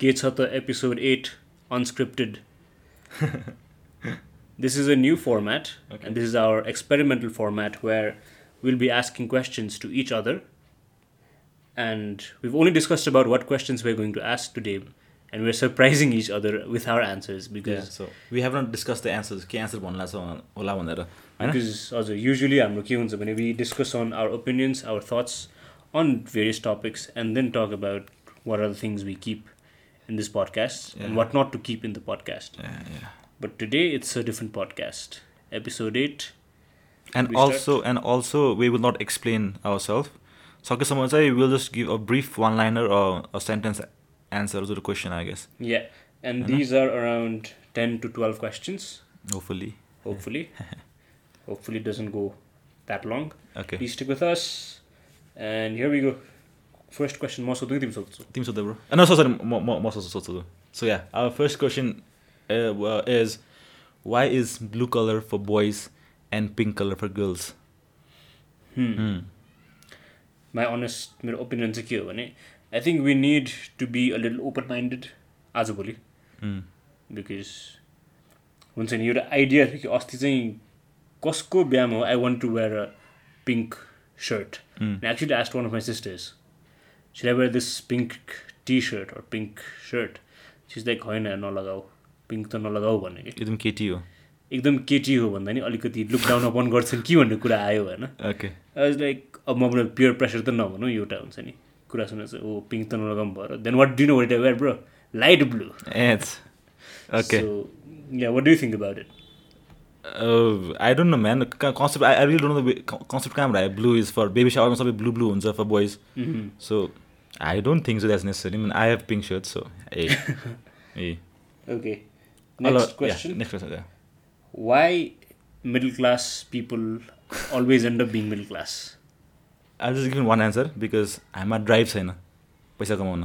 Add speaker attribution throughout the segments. Speaker 1: के छ त episode eight unscripted this is a new format and this is our experimental format where will be asking questions to each other and we've only discussed about what questions we're going to ask today and we're surprising each other with our answers because
Speaker 2: so we have not discuss the answers के answer भन्नु छ होला भनेर होइन
Speaker 1: because हजुर usually हाम्रो के हुन्छ भने we discuss on our opinions our thoughts on various topics and then talk about what are the things we keep in this podcast and what not to keep in the podcast but today it's a different podcast episode eight
Speaker 2: and
Speaker 1: We start?
Speaker 2: Also and also we will not explain our self सकेसम्म चाहिँ will just give a brief one liner a sentence answer to the question I guess
Speaker 1: yeah and these are around ten to twelve questions
Speaker 2: hopefully
Speaker 1: hopefully. hopefully, it doesn't go that long.
Speaker 2: Okay
Speaker 1: Please stick with us. And here we go. First question, most of the team
Speaker 2: तिमी सोध्दै bro न so sorry म म- म सोध्छु सोध्छु so yeah our first question uh, is why is blue colour for boys and pink colour for girls Hmm.
Speaker 1: Hmm, My honest, my opinion is here. I think we need to be a little open minded as a bully hmm. because हुन्छ नि एउटा idea थियो कि अस्ति चाहिँ कसको बिहाम हो I want to wear a pink shirt actually asked one of my sisters said I wear this pink T shirt or pink shirt she's like होइन नलगाऊ पिङ्क त नलगाऊ भन्ने कि
Speaker 2: एकदम केटी हो
Speaker 1: एकदम केटी हो भन्दा नि अलिकति लुक डाउन अपन गर्छन् कि भन्ने कुरा आयो होइन
Speaker 2: ओके
Speaker 1: इज लाइक अब म पियर प्रेसर त नभनौँ एउटा हुन्छ नि कुरा सुनेर चाहिँ ओ पिङ्क त नलगाउँ भएर then what do no what wear bro light blue
Speaker 2: it's okay
Speaker 1: yeah what do think about it
Speaker 2: I don't know man concept I I real don't know concept कहाँबाट आयो ब्लु इज फर बेबी सावरमा सबै blue blue हुन्छ for boys so I don't think so that's necessary mean I have pink shirt so eh eh
Speaker 1: okay next question
Speaker 2: next question
Speaker 1: why middle class people always end up being middle class
Speaker 2: I'll just give one answer because I'm a drive signer. पैसा कमाउन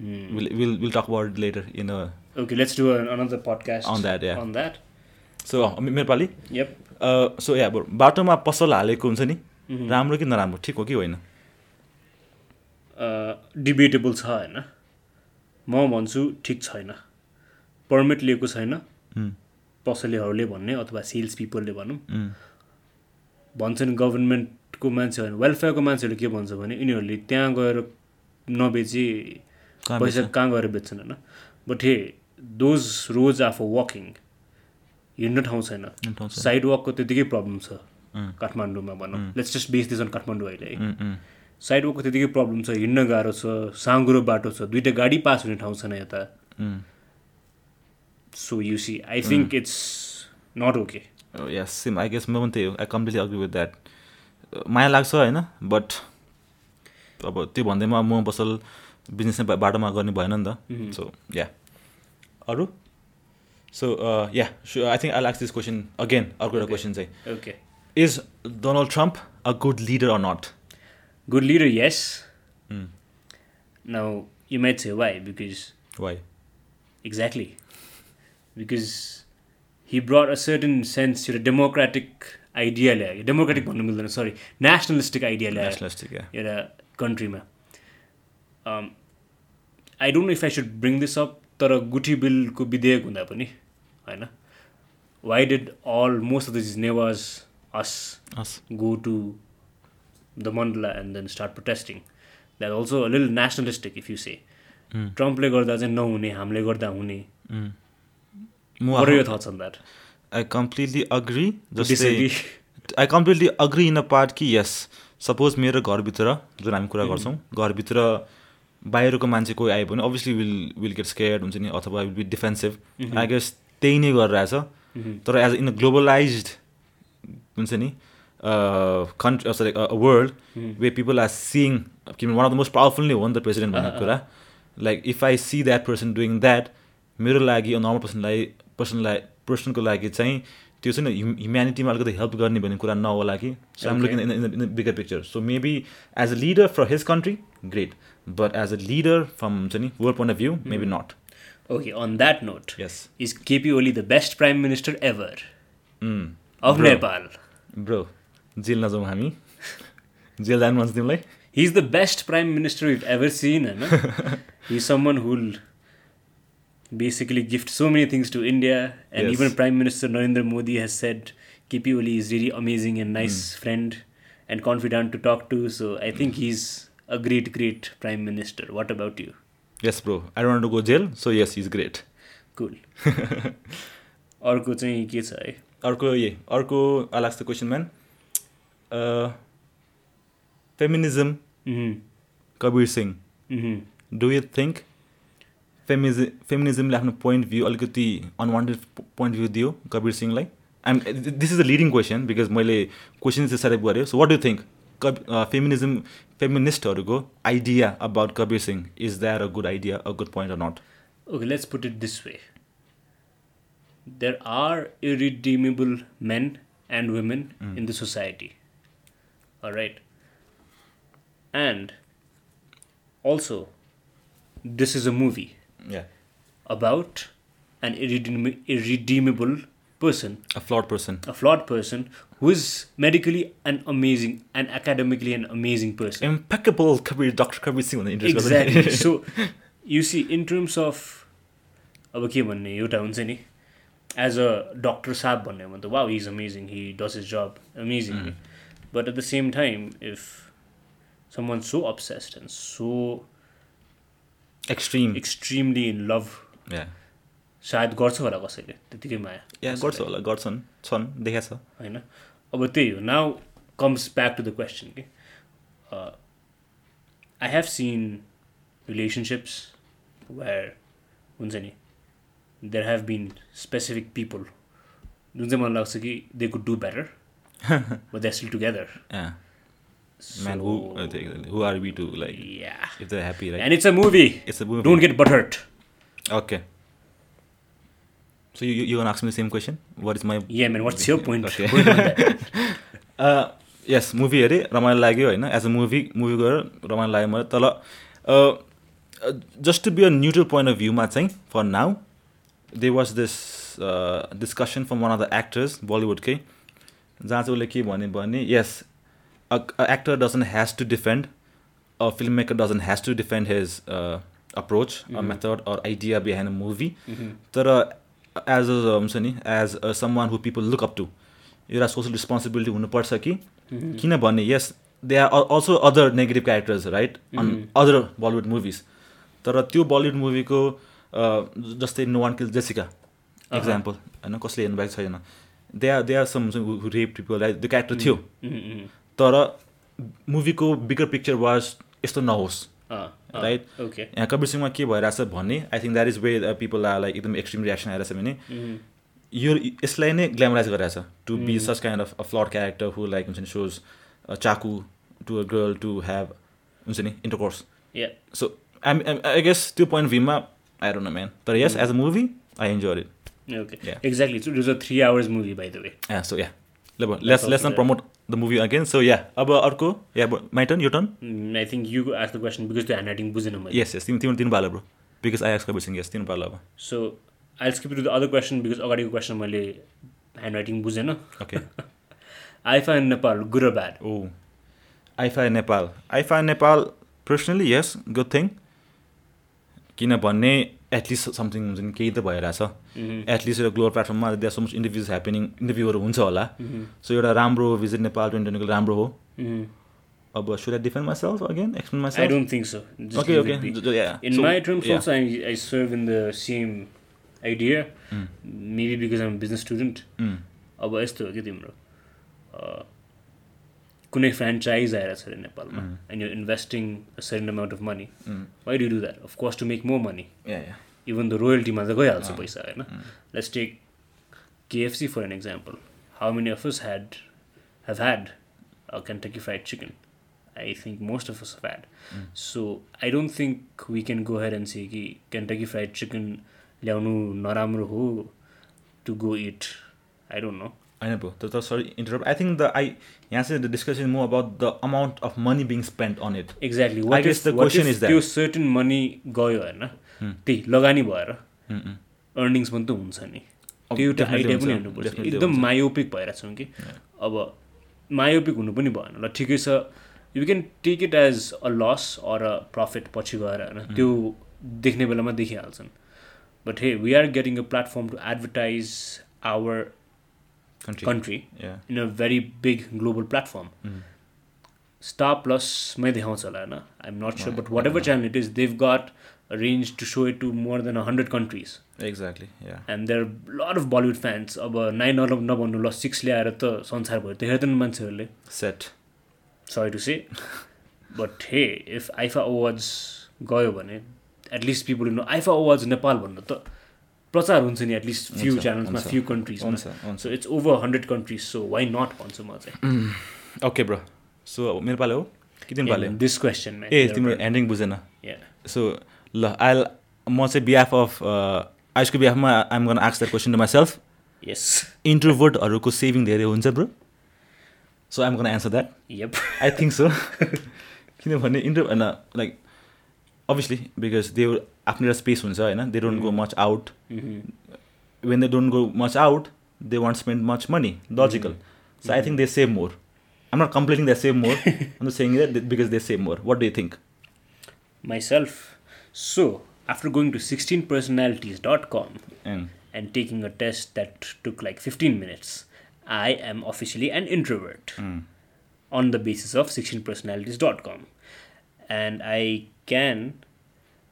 Speaker 2: we'll, we'll, we'll talk about it later in a
Speaker 1: okay let's do an, another podcast
Speaker 2: On that, yeah.
Speaker 1: on that
Speaker 2: so uh, अँ, मे- मेरो पालि
Speaker 1: yep
Speaker 2: uh, uh, so yeah बरु बाटोमा पसल हालेको हुन्छ नि राम्रो कि नराम्रो ठिक हो कि होइन
Speaker 1: uh, debatable छ होइन म भन्छु ठिक छैन पर्मिट लिएको छैन पसलेहरूले भन्ने अथवा सेल्स पिपलले भनौँ भन्छन् गभर्मेन्टको मान्छेहरू वेलफेयरको मान्छेहरूले के भन्छ भने यिनीहरूले त्यहाँ गएर नबेची
Speaker 2: कहाँ
Speaker 1: पैसा कहाँ गएर बेच्छन् होइन बट हे दोज रोज आफ वकिङ हिँड्ने ठाउँ छैन
Speaker 2: ठाउँ छैन।
Speaker 1: साइड वकको त्यतिकै प्रब्लम छ काठमाडौँमा भनौँ let's just base this on Kathmandu अहिले है साइडवकको त्यतिकै प्रब्लम छ हिँड्न गाह्रो छ साँगुरो बाटो छ दुइटा गाडी पास हुने ठाउँ छैन यता so you see I think it's not okay
Speaker 2: yeah same I guess म पनि त्यही हो I completely agree with that माया लाग्छ होइन बट अब त्यो भन्दैमा म पसल बिजनेस नै बा- बाटोमा गर्ने भएन नि त सो या अरू uh, so yeah I think I likes this question again अर्को एउटा क्वेसन चाहिँ
Speaker 1: okay
Speaker 2: is Donald Trump a good leader or not
Speaker 1: good leader yes now you might say why because
Speaker 2: why
Speaker 1: Exactly. Because he brought a certain sense to the democratic eh? idea ल्यायो democratic भन्नु मिल्दैन sorry nationalistic idea ल्यायो
Speaker 2: nationalistic
Speaker 1: एउटा कन्ट्रीमा Um, I don't know if I should bring this up तर गुठी बिलको विधेयक हुँदा पनि होइन why did all most of these Newars us
Speaker 2: has
Speaker 1: go to the mandala and then start protesting. That's also a little nationalistic, if you say. ट्रम्पले गर्दा चाहिँ नहुने हामीले गर्दा हुने बरु यो
Speaker 2: म
Speaker 1: thoughts on that
Speaker 2: I completely agree जस्तै
Speaker 1: disagree
Speaker 2: I completely agree in a part कि यस सपोज मेरो घरभित्र जुन हामी कुरा गर्छौँ घरभित्र बाहिरको मान्छे कोही आयो भने obviously will will get scared हुन्छ नि अथवा will be defensive I guess त्यही नै गरिरहेछ तर एज इन अ ग्लोबलाइज हुन्छ नि country sorry world we people are seeing किनभने one of the most powerful नै हो नि त प्रेसिडेन्ट भन्ने कुरा like if I see that person doing that मेरो लागि नर्मल पर्सनलाई पर्सनलाई पर्सनको लागि चाहिँ त्यो चाहिँ ह्युम्यानिटीमा अलिकति हेल्प गर्ने भन्ने कुरा नहोला कि so I'm looking in bigger picture so maybe as a leader for his country great but as a leader from हुन्छ नि world point of view maybe not
Speaker 1: okay on that note
Speaker 2: yes
Speaker 1: is KP Oli the best prime minister ever of
Speaker 2: Bro.
Speaker 1: Nepal
Speaker 2: bro Hmm. Jail नजाउँ हामी jail जानु मन छ तिमीलाई
Speaker 1: He's the best prime minister we've ever seen, and he's eh, someone who'll basically gift so many things to India, and
Speaker 2: Yes.
Speaker 1: even Prime Minister Narendra Modi has said KP Oli is really amazing and nice friend and confidant to talk to. So I think he's a great, great Prime Minister. What about you?
Speaker 2: Yes, bro. I don't want to go jail. So yes, he's great.
Speaker 1: Cool. अर्को चाहिँ के छ है
Speaker 2: अर्को ए अर्को I last the question man Uh, feminism
Speaker 1: उहुँ,
Speaker 2: कबीर सिंह
Speaker 1: उहुँ।
Speaker 2: डु यु थिङ्क फेमिज फेमिनिजमले आफ्नो पोइन्ट भ्यू अलिकति अनवान्टेड पोइन्ट भ्यू दियो कबीर सिंहलाई and this is the leading question because मैले क्वेसन चाहिँ सेलेक्ट गरेँ सो वाट डु थिङ्क कब फेमिनिजम फेमिनिस्टहरूको idea about Kabir Singh is there a good idea a good point or not
Speaker 1: Okay, let's put it this way. There are irredeemable men and women in the society. All right. And also, this is a movie about an irredeem- irredeemable person,
Speaker 2: a flawed person
Speaker 1: a flawed person who is medically an amazing and academically an amazing person.
Speaker 2: Impeccable Kabir doctor Kabir Singh भनेर interest
Speaker 1: exactly so you see in terms of अब के भन्ने एउटा हुन्छ नि as a doctor साहब भन्ने हो भने त wow is amazing he does his job amazing but at the same time if someone so obsessed and so
Speaker 2: extreme
Speaker 1: extremely in love
Speaker 2: yeah
Speaker 1: सायद गर्छ होला कसैले त्यतिकै माया
Speaker 2: या गर्छ होला गर्छन् छन् देखाएको छ
Speaker 1: होइन अब त्यही हो now comes back to the question कि Uh, I have seen relationships where हुन्छ नि there have been specific people जुन चाहिँ मलाई लाग्छ कि they could do better but they still together
Speaker 2: man who who are we to like
Speaker 1: yeah
Speaker 2: if they happy right
Speaker 1: and it's a movie
Speaker 2: it's a
Speaker 1: don't get butthurt
Speaker 2: okay so you you ask me the same question what is my
Speaker 1: yeah man what's your point
Speaker 2: Okay. Yes movie हेरेँ रमाइलो लाग्यो होइन as a movie movie गएर रमाइलो लाग्यो मलाई तर just to be a neutral point of भ्यूमा चाहिँ for now there was this discussion from one of the actors बलिउडकै जहाँ चाहिँ उसले के भन्यो भने yes actor doesn't has to defend a film maker doesn't has to defend his approach a method or idea behind a movie
Speaker 1: Mm-hmm.
Speaker 2: तर as a हुन्छ नि as a someone who people look up to एउटा social responsibility हुनुपर्छ कि किनभने yes they are also other negative characters right on other Bollywood movies तर त्यो बलिउड मुभीको जस्तै नो वान किल जेसिका एक्जाम्पल होइन कसले हेर्नुभएको छैन they are they are some rape people त्यो क्यारेक्टर थियो
Speaker 1: Mm-hmm.
Speaker 2: तर मुभीको बिगर पिक्चर वाज यस्तो नहोस्
Speaker 1: Uh,
Speaker 2: राइट
Speaker 1: ओके
Speaker 2: यहाँ कपिल सिंहमा के भइरहेछ भन्ने I think that is way people are like एकदम एक्सट्रिम रियाक्सन आइरहेछ भने
Speaker 1: Mm-hmm.
Speaker 2: यो यसलाई नै ग्ल्यामराइज गरिरहेछ to be such kind of a flawed character who like हुन्छ नि सोज चाकु to a girl to have हुन्छ नि intercourse
Speaker 1: yeah
Speaker 2: so I I guess त्यो पोइन्ट भ्यूमा आई डोन्ट नो म्यान तर yes as a movie I enjoy it
Speaker 1: okay
Speaker 2: Yeah.
Speaker 1: Exactly it's is a three hours movie by the way
Speaker 2: ए so yeah ल less less
Speaker 1: also
Speaker 2: not
Speaker 1: there.
Speaker 2: Promote the movie again so yeah अब अर्को yeah my turn यो turn
Speaker 1: Mm, I think you asked the question because the handwriting was in a
Speaker 2: yes yes तिमी तिम्रो तिमी पालो bro because I एक्स Kapil Singh yes तिमी पालो अब
Speaker 1: So I'll skip to the other question because अगाडिको question मैले handwriting बुझेन
Speaker 2: okay
Speaker 1: IIFA in Nepal good or bad?
Speaker 2: Oh IIFA Nepal IIFA Nepal personally yes good thing किनभने एटलिस्ट समथिङ हुन्छ नि केही त भइरहेछ
Speaker 1: Mhm.
Speaker 2: एटलिस्ट एउटा ग्लोबल प्लेटफर्ममा there so much interviews happening इन्टरभ्यूहरू हुन्छ होला
Speaker 1: Mhm.
Speaker 2: सो एउटा राम्रो भिजिट नेपाल ट्वेन्टी ट्वेन्टीको राम्रो हो अब should I defend myself again explain
Speaker 1: I
Speaker 2: myself
Speaker 1: don't think so. Just
Speaker 2: okay
Speaker 1: leave
Speaker 2: okay
Speaker 1: it be. In my terms also, I, I serve in the same idea. Maybe because I'm a business student.
Speaker 2: Mm.
Speaker 1: अब यस्तो हो कि तिम्रो a, कुनै franchise आएर छ अरे नेपालमा and you investing a certain amount of money why do do that of course to make more money even the रोयल्टीमा त गइहाल्छ पैसा होइन let's take KFC for an example how many of us had have had Kentucky fried chicken I think most of us had so I don't think we can go here and see कि Kentucky fried chicken ल्याउनु नराम्रो हो to go it I don't know
Speaker 2: होइन bro तर sorry interrupt I think the I यहाँ चाहिँ the discussion more about the amount of money being spend on it
Speaker 1: exactly
Speaker 2: I
Speaker 1: what
Speaker 2: guess
Speaker 1: is
Speaker 2: the
Speaker 1: what
Speaker 2: question
Speaker 1: is
Speaker 2: is that. Hmm.
Speaker 1: त्यो certain money गयो होइन त्यही लगानी भएर earnings पनि त हुन्छ नि
Speaker 2: अब
Speaker 1: त्यो एउटा
Speaker 2: Hmm, Oh, definitely
Speaker 1: आइडिया पनि
Speaker 2: हुन्छ,
Speaker 1: हेर्नुपर्छ
Speaker 2: definitely
Speaker 1: एकदम
Speaker 2: हुन्छ।
Speaker 1: मायोपिक भइरहेछौँ कि अब मायोपिक हुनु पनि भएन ल ठिकै छ you can take it as
Speaker 2: Hmm.
Speaker 1: A loss or a profit पछि गएर होइन त्यो देख्ने बेलामा देखिहाल्छन् But hey, we are getting a platform to advertise our
Speaker 2: country.
Speaker 1: country
Speaker 2: Yeah.
Speaker 1: in a very big global platform.
Speaker 2: Hmm.
Speaker 1: Star Plus may देखाउँछ होला होइन I am not sure
Speaker 2: Right,
Speaker 1: but whatever
Speaker 2: right.
Speaker 1: Channel it is they've got range to so it to more than hundred countries
Speaker 2: Exactly. Yeah.
Speaker 1: And there lot of Bollywood fans अब नाइन अलब नभन्नु ल six ल्याएर त संसारभरि त हेर्दैन मान्छेहरूले
Speaker 2: Set.
Speaker 1: Sorry to say but hey if IIFA awards गयो भने at least people know IIFA awards Nepal भन्नु त प्रचार हुन्छ नि एटलिस्ट फ्यु
Speaker 2: हुन्छ,
Speaker 1: च्यानल्समा
Speaker 2: हुन्छ,
Speaker 1: फ्यु कन्ट्रिजमा
Speaker 2: हुन्छ हुन्छ
Speaker 1: so it's over hundred countries so why not भन्छु म चाहिँ
Speaker 2: ओके ब्रो सो अब मेरो पालो हो कि तिम्रो पालो हो?
Speaker 1: दिस क्वेसनमा
Speaker 2: ए तिम्रो ह्यान्डिङ बुझेन सो ल आइल म चाहिँ बिहाफ अफ आयुषको बिहाफमा आइम गर्न आक्स the question to myself
Speaker 1: yes
Speaker 2: इन्ट्रोभर्टहरूको saving धेरै हुन्छ bro so I'm gonna answer that
Speaker 1: yup
Speaker 2: I think so किनभने इन्टर होइन लाइक अभियसली बिकज दे आफ्नो एउटा स्पेस हुन्छ होइन they don't go much out when they don't go much out they want spend much money logical so I think they save more um not complaining they save more अन्त saying because they save more what do think
Speaker 1: myself. So, after going to 16personalities.com and taking a test that took like 15 minutes, I am officially an introvert
Speaker 2: Hmm.
Speaker 1: on the basis of 16personalities.com. And I can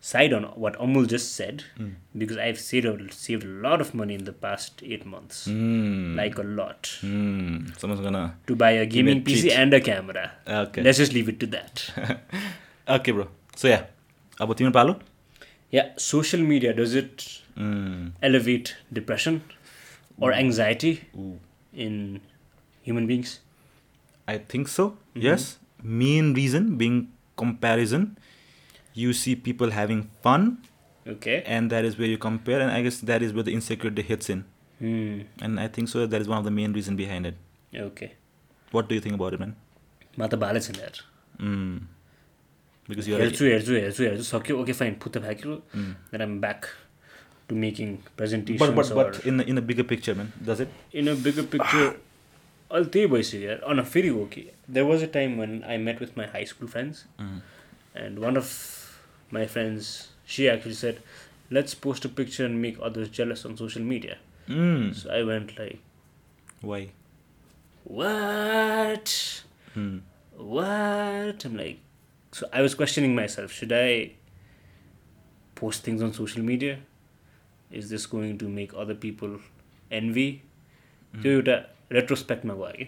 Speaker 1: side on what Amul just said
Speaker 2: Hmm.
Speaker 1: because I've saved a, saved a lot of money in the past eight months.
Speaker 2: Hmm.
Speaker 1: Like a lot.
Speaker 2: समझगन
Speaker 1: To buy a gaming
Speaker 2: treat.
Speaker 1: PC and a camera.
Speaker 2: Okay.
Speaker 1: Let's just leave it to that.
Speaker 2: Okay bro so yeah अब तिम्रो पालो
Speaker 1: Yeah, social media does it elevate depression or
Speaker 2: Mm.
Speaker 1: anxiety in human beings?
Speaker 2: I think so yes main reason being comparison you see people having fun
Speaker 1: Okay.
Speaker 2: and that is where you compare and i guess that is where the insecurity hits in
Speaker 1: Hmm.
Speaker 2: and i think so that is one of the main reason behind it
Speaker 1: Okay.
Speaker 2: what do you think about it man
Speaker 1: म त भाले छैन यार
Speaker 2: mm. because you're Mm.
Speaker 1: हेर्छु हेर्छु हेर्छु हेर्छु सक्यो ओके फाइन पुत्त फ्याँक्यो then I'm back to making
Speaker 2: but but
Speaker 1: presentation
Speaker 2: but in the, in the bigger picture man does it
Speaker 1: in a bigger picture अहिले त्यही भइसक्यो यार अन फेरि हो कि there was a time when I met with my high school friends and one of my friends see actually set let's post a picture and make others jealous on social media
Speaker 2: mm.
Speaker 1: So I went like
Speaker 2: why
Speaker 1: what
Speaker 2: mm.
Speaker 1: What am like so I was questioning myself should I post things on social media is this going to make other people envy
Speaker 2: Hmm.
Speaker 1: त्यो एउटा रेट्रोस्पेक्टमा गयो कि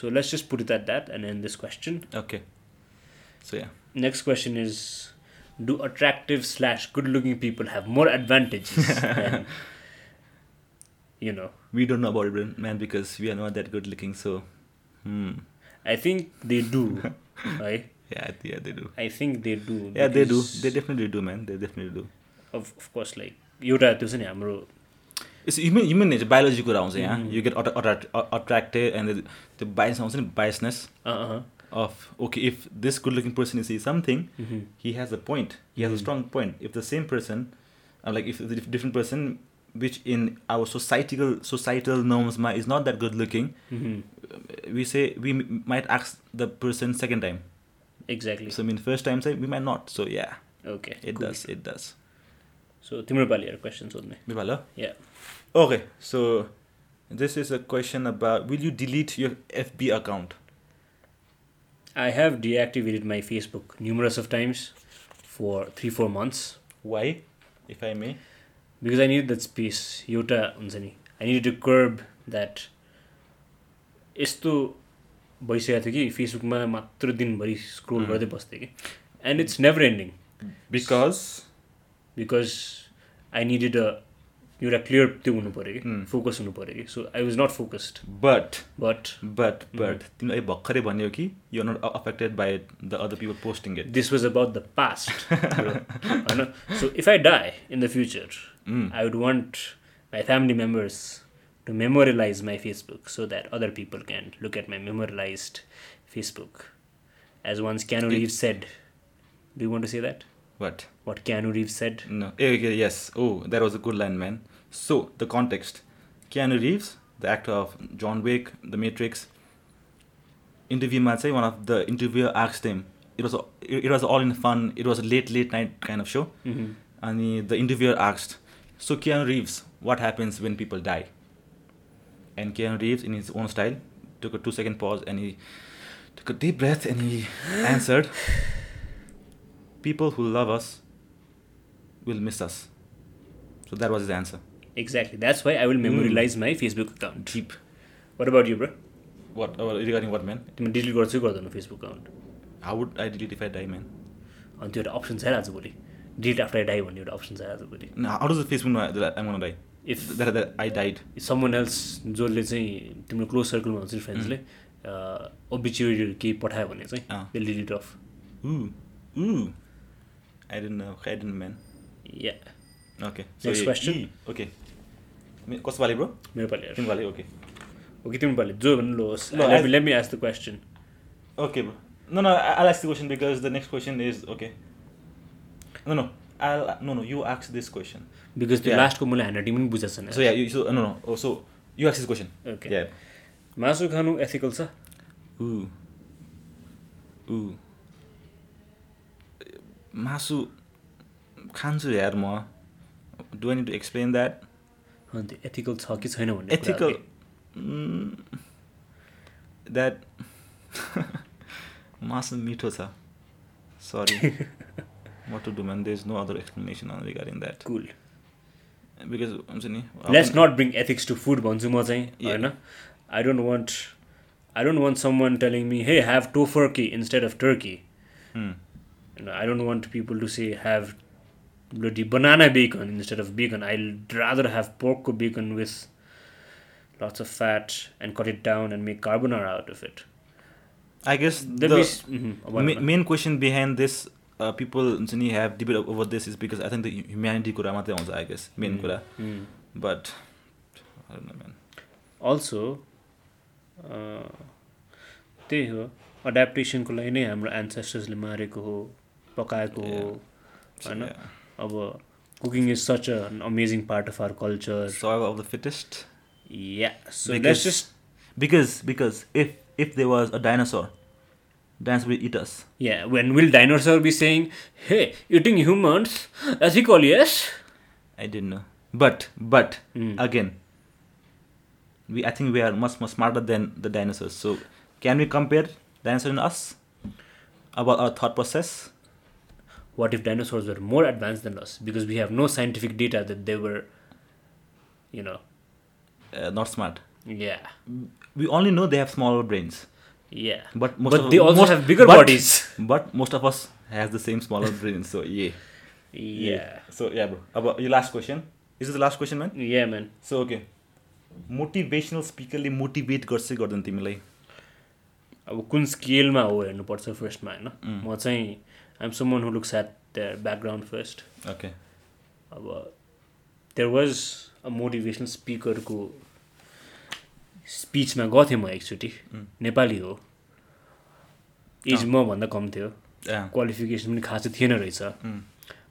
Speaker 1: so let's just put that that and and this question
Speaker 2: okay so yeah
Speaker 1: next question is do attractive slash good looking people have more advantages you know
Speaker 2: we don't know about it man because we are not that good looking so hmm.
Speaker 1: I think they do है
Speaker 2: yeah yeah they do
Speaker 1: I think they do
Speaker 2: yeah they do they definitely do man they definitely do
Speaker 1: of of course like एउटा त्यो छ नि हाम्रो
Speaker 2: it's human human nature biology कुरा आउँछ यहाँ you get attracted and त्यो बायस आउँछ नि बायसनेस
Speaker 1: अँ
Speaker 2: of okay if this good looking person is something he has a point he has a strong point if the same person uh, like if the dif- different person which in our societal societal norms might, is not that good looking uh, we say we m- might ask the person second time
Speaker 1: exactly
Speaker 2: so i mean first time say we might not so yeah
Speaker 1: okay
Speaker 2: it does it does
Speaker 1: so तिम्रो पालि एउटा question सोध्ने
Speaker 2: Bipala?
Speaker 1: Yeah
Speaker 2: okay so this is a question about will you delete your fb account
Speaker 1: I have deactivated my Facebook numerous of times for three four months
Speaker 2: why if i may
Speaker 1: because I need that space एउटा हुन्छ नि I need to कर्ब that यस्तो भइसकेको थियो कि फेसबुकमा मात्र दिनभरि स्क्रोल
Speaker 2: Mm.
Speaker 1: गर्दै बस्थेँ कि and it's never ending
Speaker 2: because
Speaker 1: because I needed a एउटा क्लियर त्यो हुनु पऱ्यो कि
Speaker 2: Hmm.
Speaker 1: फोकस हुनु पऱ्यो कि so I was not focused
Speaker 2: but
Speaker 1: but
Speaker 2: But but तिमीले अहिले भर्खरै भन्यो कि you not affected by the other people posting it
Speaker 1: this was about the past. bro. I know. so if I die in the future, I would want my family members to memorialize my Facebook so that other people can look at my memorialized Facebook. As once Keanu
Speaker 2: It-
Speaker 1: Reeves said, do you want to say that?
Speaker 2: But
Speaker 1: What Keanu Reeves said?
Speaker 2: No A yes oh that was a good line man so the context Keanu Reeves the actor of John Wick the Matrix इन्टरभ्यूमा चाहिँ one of the interview asks them it was it was all in fun it was late late night kind of so
Speaker 1: Mm-hmm.
Speaker 2: अनि the interviewer आक्स्ड So Keanu Reeves, what happens when people die? And Keanu Reeves, in his own style, took a two second pause and he took a deep breath and he answered People who love us will miss us. So that was his answer.
Speaker 1: Exactly. That's why I will memorialize my Facebook account.
Speaker 2: Deep.
Speaker 1: What about you, bro?
Speaker 2: What uh, regarding what man?
Speaker 1: तिमी delete गर्छु कि गर्दैनौ Facebook account
Speaker 2: How would I delete if I die, man?
Speaker 1: अनि त्यो एउटा option छैन आजभोलि delete after I die भन्ने एउटा अप्सन छ आजभोलि
Speaker 2: No, how does the Facebook know that I'm gonna die?
Speaker 1: If-
Speaker 2: that, that I died.
Speaker 1: Someone else जसले चाहिँ तिम्रो क्लोज सर्कलमा हुन्छ फ्रेन्ड्सले ओबिच्युरी केही पठायो भने
Speaker 2: अँ।
Speaker 1: चाहिँ delete of
Speaker 2: Ooh, ooh. I didn't know. I didn't, man.
Speaker 1: Yeah
Speaker 2: Okay.
Speaker 1: Next question.
Speaker 2: E. Okay. Me- कस्तो वाले bro?
Speaker 1: मेरो पालि
Speaker 2: तिम्रो वाले, okay.
Speaker 1: ओके तिम्रो पालि जो भन्नु लो होस्
Speaker 2: ल, I-
Speaker 1: let me ask the question
Speaker 2: Okay, bro. No, no. I- I'll ask the question because the next question is okay. No, no. I'll no, no. You ask this question.
Speaker 1: Because त्यो
Speaker 2: Yeah.
Speaker 1: लास्टको मलाई hand writing पनि बुझेको छैन
Speaker 2: So yeah, you, so no, no. Oh, so you ask this question.
Speaker 1: Okay.
Speaker 2: Yeah.
Speaker 1: मासु खानु ethical छ
Speaker 2: Ooh. Ooh. मासु खान्छु यार म do I need to explain that
Speaker 1: अन्त एथिकल छ कि छैन भन्ने कुरा हो
Speaker 2: ethical
Speaker 1: कि।
Speaker 2: mm, that मासु मिठो छ sorry what to do man there is no other explanation on regarding that
Speaker 1: cool
Speaker 2: because हुन्छ नि
Speaker 1: let's not bring ethics to food भन्छु म चाहिँ
Speaker 2: Yeah.
Speaker 1: होइन I don't want I don't want someone telling me hey have Tofurky instead of turkey
Speaker 2: Hmm.
Speaker 1: होइन I don't want people to say have bloody banana bacon instead of bacon I rather have पोर्कको bacon with lots of fat and cut it down and make carbonara out of it
Speaker 2: I guess
Speaker 1: That means- Mhm,
Speaker 2: द
Speaker 1: भन न।
Speaker 2: Main question behind this people हुन्छ नि have debate over this is because I think the humanity कुरा मात्रै आउँछ I guess main कुरा but man
Speaker 1: also त्यही uh, हो अड्याप्टेसनको लागि नै हाम्रो एन्सेस्टर्सले मारेको हो पकाएको हो होइन अब cooking is such an amazing part of our culture
Speaker 2: serve of the fittest
Speaker 1: yeah so
Speaker 2: Because-
Speaker 1: let's just
Speaker 2: Because because if if there was a dinosaur, dinosaur would eat us.
Speaker 1: Yeah when will dinosaur be saying hey eating humans ethical yes
Speaker 2: I didn't know. But but again, we I think we are much much smarter than the dinosaurs. So can we compare dinosaur and us about our thought process?
Speaker 1: what if dinosaurs were more advanced than us because we have no scientific data that they were you know
Speaker 2: Uh, not smart.
Speaker 1: yeah
Speaker 2: We only know they have smaller brains,
Speaker 1: yeah
Speaker 2: but most
Speaker 1: but
Speaker 2: of,
Speaker 1: they also
Speaker 2: most-
Speaker 1: have bigger
Speaker 2: but-
Speaker 1: bodies
Speaker 2: But most of us has the same smaller brains. So yeah.
Speaker 1: yeah
Speaker 2: So yeah, bro. About your last question. Is this the last question, man?
Speaker 1: yeah man
Speaker 2: so okay motivational स्पिकरले motivate गर्छ कि गर्दैन तिमीलाई
Speaker 1: अब कुन स्केलमा हो हेर्नुपर्छ फर्स्टमा होइन
Speaker 2: Mm.
Speaker 1: म चाहिँ I'm someone who looks at their background first
Speaker 2: okay
Speaker 1: अब देयर वाज अ मोटिभेसनल स्पिकरको स्पिचमा गएको थिएँ म एकचोटि नेपाली हो एज मभन्दा कम थियो क्वालिफिकेसन पनि खासै थिएन रहेछ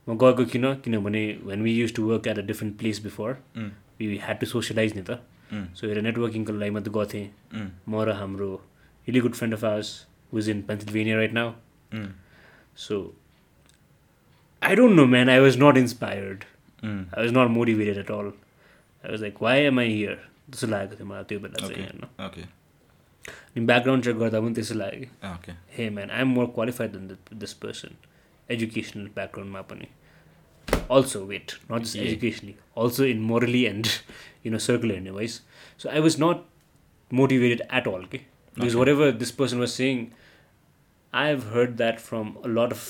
Speaker 1: म गएको किन किनभने when we used to work at a different place before we had to socialise नि त
Speaker 2: Mm.
Speaker 1: सो एउटा नेटवर्किङको लागि मात्रै गएको थिएँ म र हाम्रो really good friend of ours was in Pennsylvania right now so I don't know man I was not inspired
Speaker 2: Mm.
Speaker 1: I was not motivated at all I was like why am I here त्यस्तो लागेको थियो मलाई त्यो बेला चाहिँ होइन
Speaker 2: okay
Speaker 1: अनि background check गर्दा पनि त्यस्तो लाग्यो
Speaker 2: okay
Speaker 1: hey man i'm more qualified than th- this person educational background ma pani also wait not just
Speaker 2: Yeah.
Speaker 1: educationally also in morally and you know circular in a ways so i was not motivated at all okay? because
Speaker 2: Okay.
Speaker 1: whatever this person was saying i've heard that from a lot of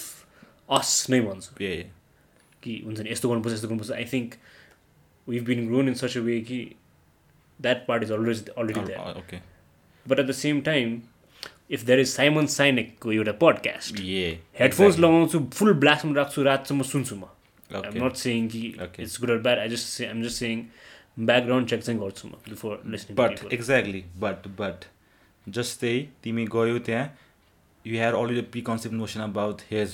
Speaker 1: us नै भन्छ कि हुन्छ नि यस्तो गर्नुपर्छ यस्तो गर्नुपर्छ I think we've been grown in such a way कि that part is always already there
Speaker 2: okay
Speaker 1: but at the same time if there is simon sinek को एउटा podcast
Speaker 2: ए
Speaker 1: हेडफोन्स लगाउँछु फुल ब्लास्टमा राख्छु रातसम्म सुन्छु म I am
Speaker 2: okay
Speaker 1: not saying कि
Speaker 2: Okay.
Speaker 1: It's good or bad I just I'm just saying background check चाहिँ गर्छु म before listening
Speaker 2: but exactly but but जस्तै तिमी गयो त्यहाँ you here already pre concept notion about his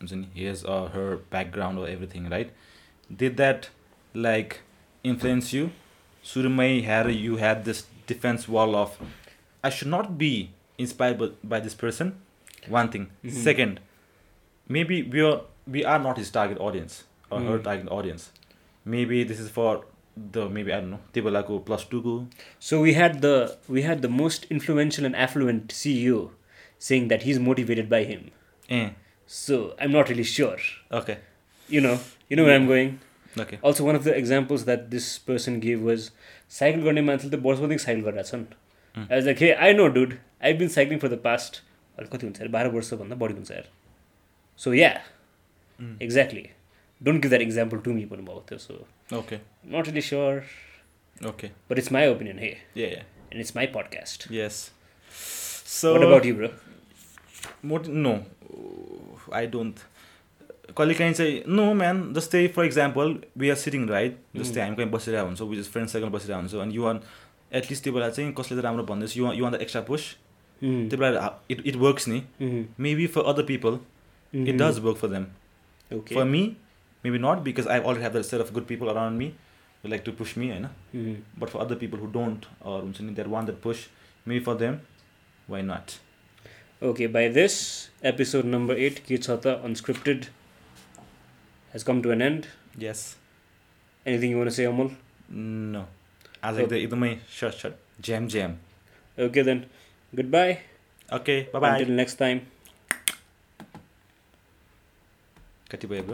Speaker 2: हुन्छ नि his or her background or everything right did that like influence you सुरुमै here you had this defence wall of I should not be inspire by this person one thing second maybe we are we are not his target audience or her
Speaker 1: Mm.
Speaker 2: Target audience maybe this is for the maybe I don't know त्यो बेलाको plus टूको
Speaker 1: So we had the we had the most influential and affluent CEO saying that he's motivated by him.
Speaker 2: Uh
Speaker 1: So I'm not really sure.
Speaker 2: Okay
Speaker 1: You know, you know where I'm going.
Speaker 2: Okay
Speaker 1: Also, one of the examples that this person gave was cycle गर्ने मान्छेले त वर्षदेखि cycle गरिरहेको छन् I was like, hey, I know, dude. I've been cycling for the past अरे कति हुन्छ अरे बाह्र वर्षभन्दा बढी हुन्छ यार so yeah exactly don't give that example to me भन्नुभएको थियो so
Speaker 2: okay
Speaker 1: not really sure
Speaker 2: okay
Speaker 1: but it's my opinion hey
Speaker 2: uh
Speaker 1: and it's my podcast
Speaker 2: yes so
Speaker 1: what about you bro
Speaker 2: मोट no I don't कहिलेकाहीँ चाहिँ no man जस्तै for example we are sitting right जस्तै हामी कहीँ बसिरहेको हुन्छौँ which is friend circle बसिरहेको हुन्छौँ अनि युवान एटलिस्ट त्यो बेला चाहिँ कसले त राम्रो भन्दैछ युवा you want the extra push
Speaker 1: Hmm,
Speaker 2: त्यो बेला इट इट वर्क्स नि maybe for other people
Speaker 1: hmm.
Speaker 2: It does work for them
Speaker 1: okay
Speaker 2: for me maybe not because I already have the set of good people around me you like to push me होइन
Speaker 1: Hmm.
Speaker 2: But for other people who don't or हुन्छ नि that one that push maybe for them why not
Speaker 1: Okay, by this, episode number 8, Kitsata Unscripted, has come to an end.
Speaker 2: Yes
Speaker 1: Anything you want to say, Amol?
Speaker 2: No आज एकदम एकदमै short short jam jam
Speaker 1: Okay, then. Goodbye.
Speaker 2: Okay bye
Speaker 1: Until next time.
Speaker 2: कति भयो bro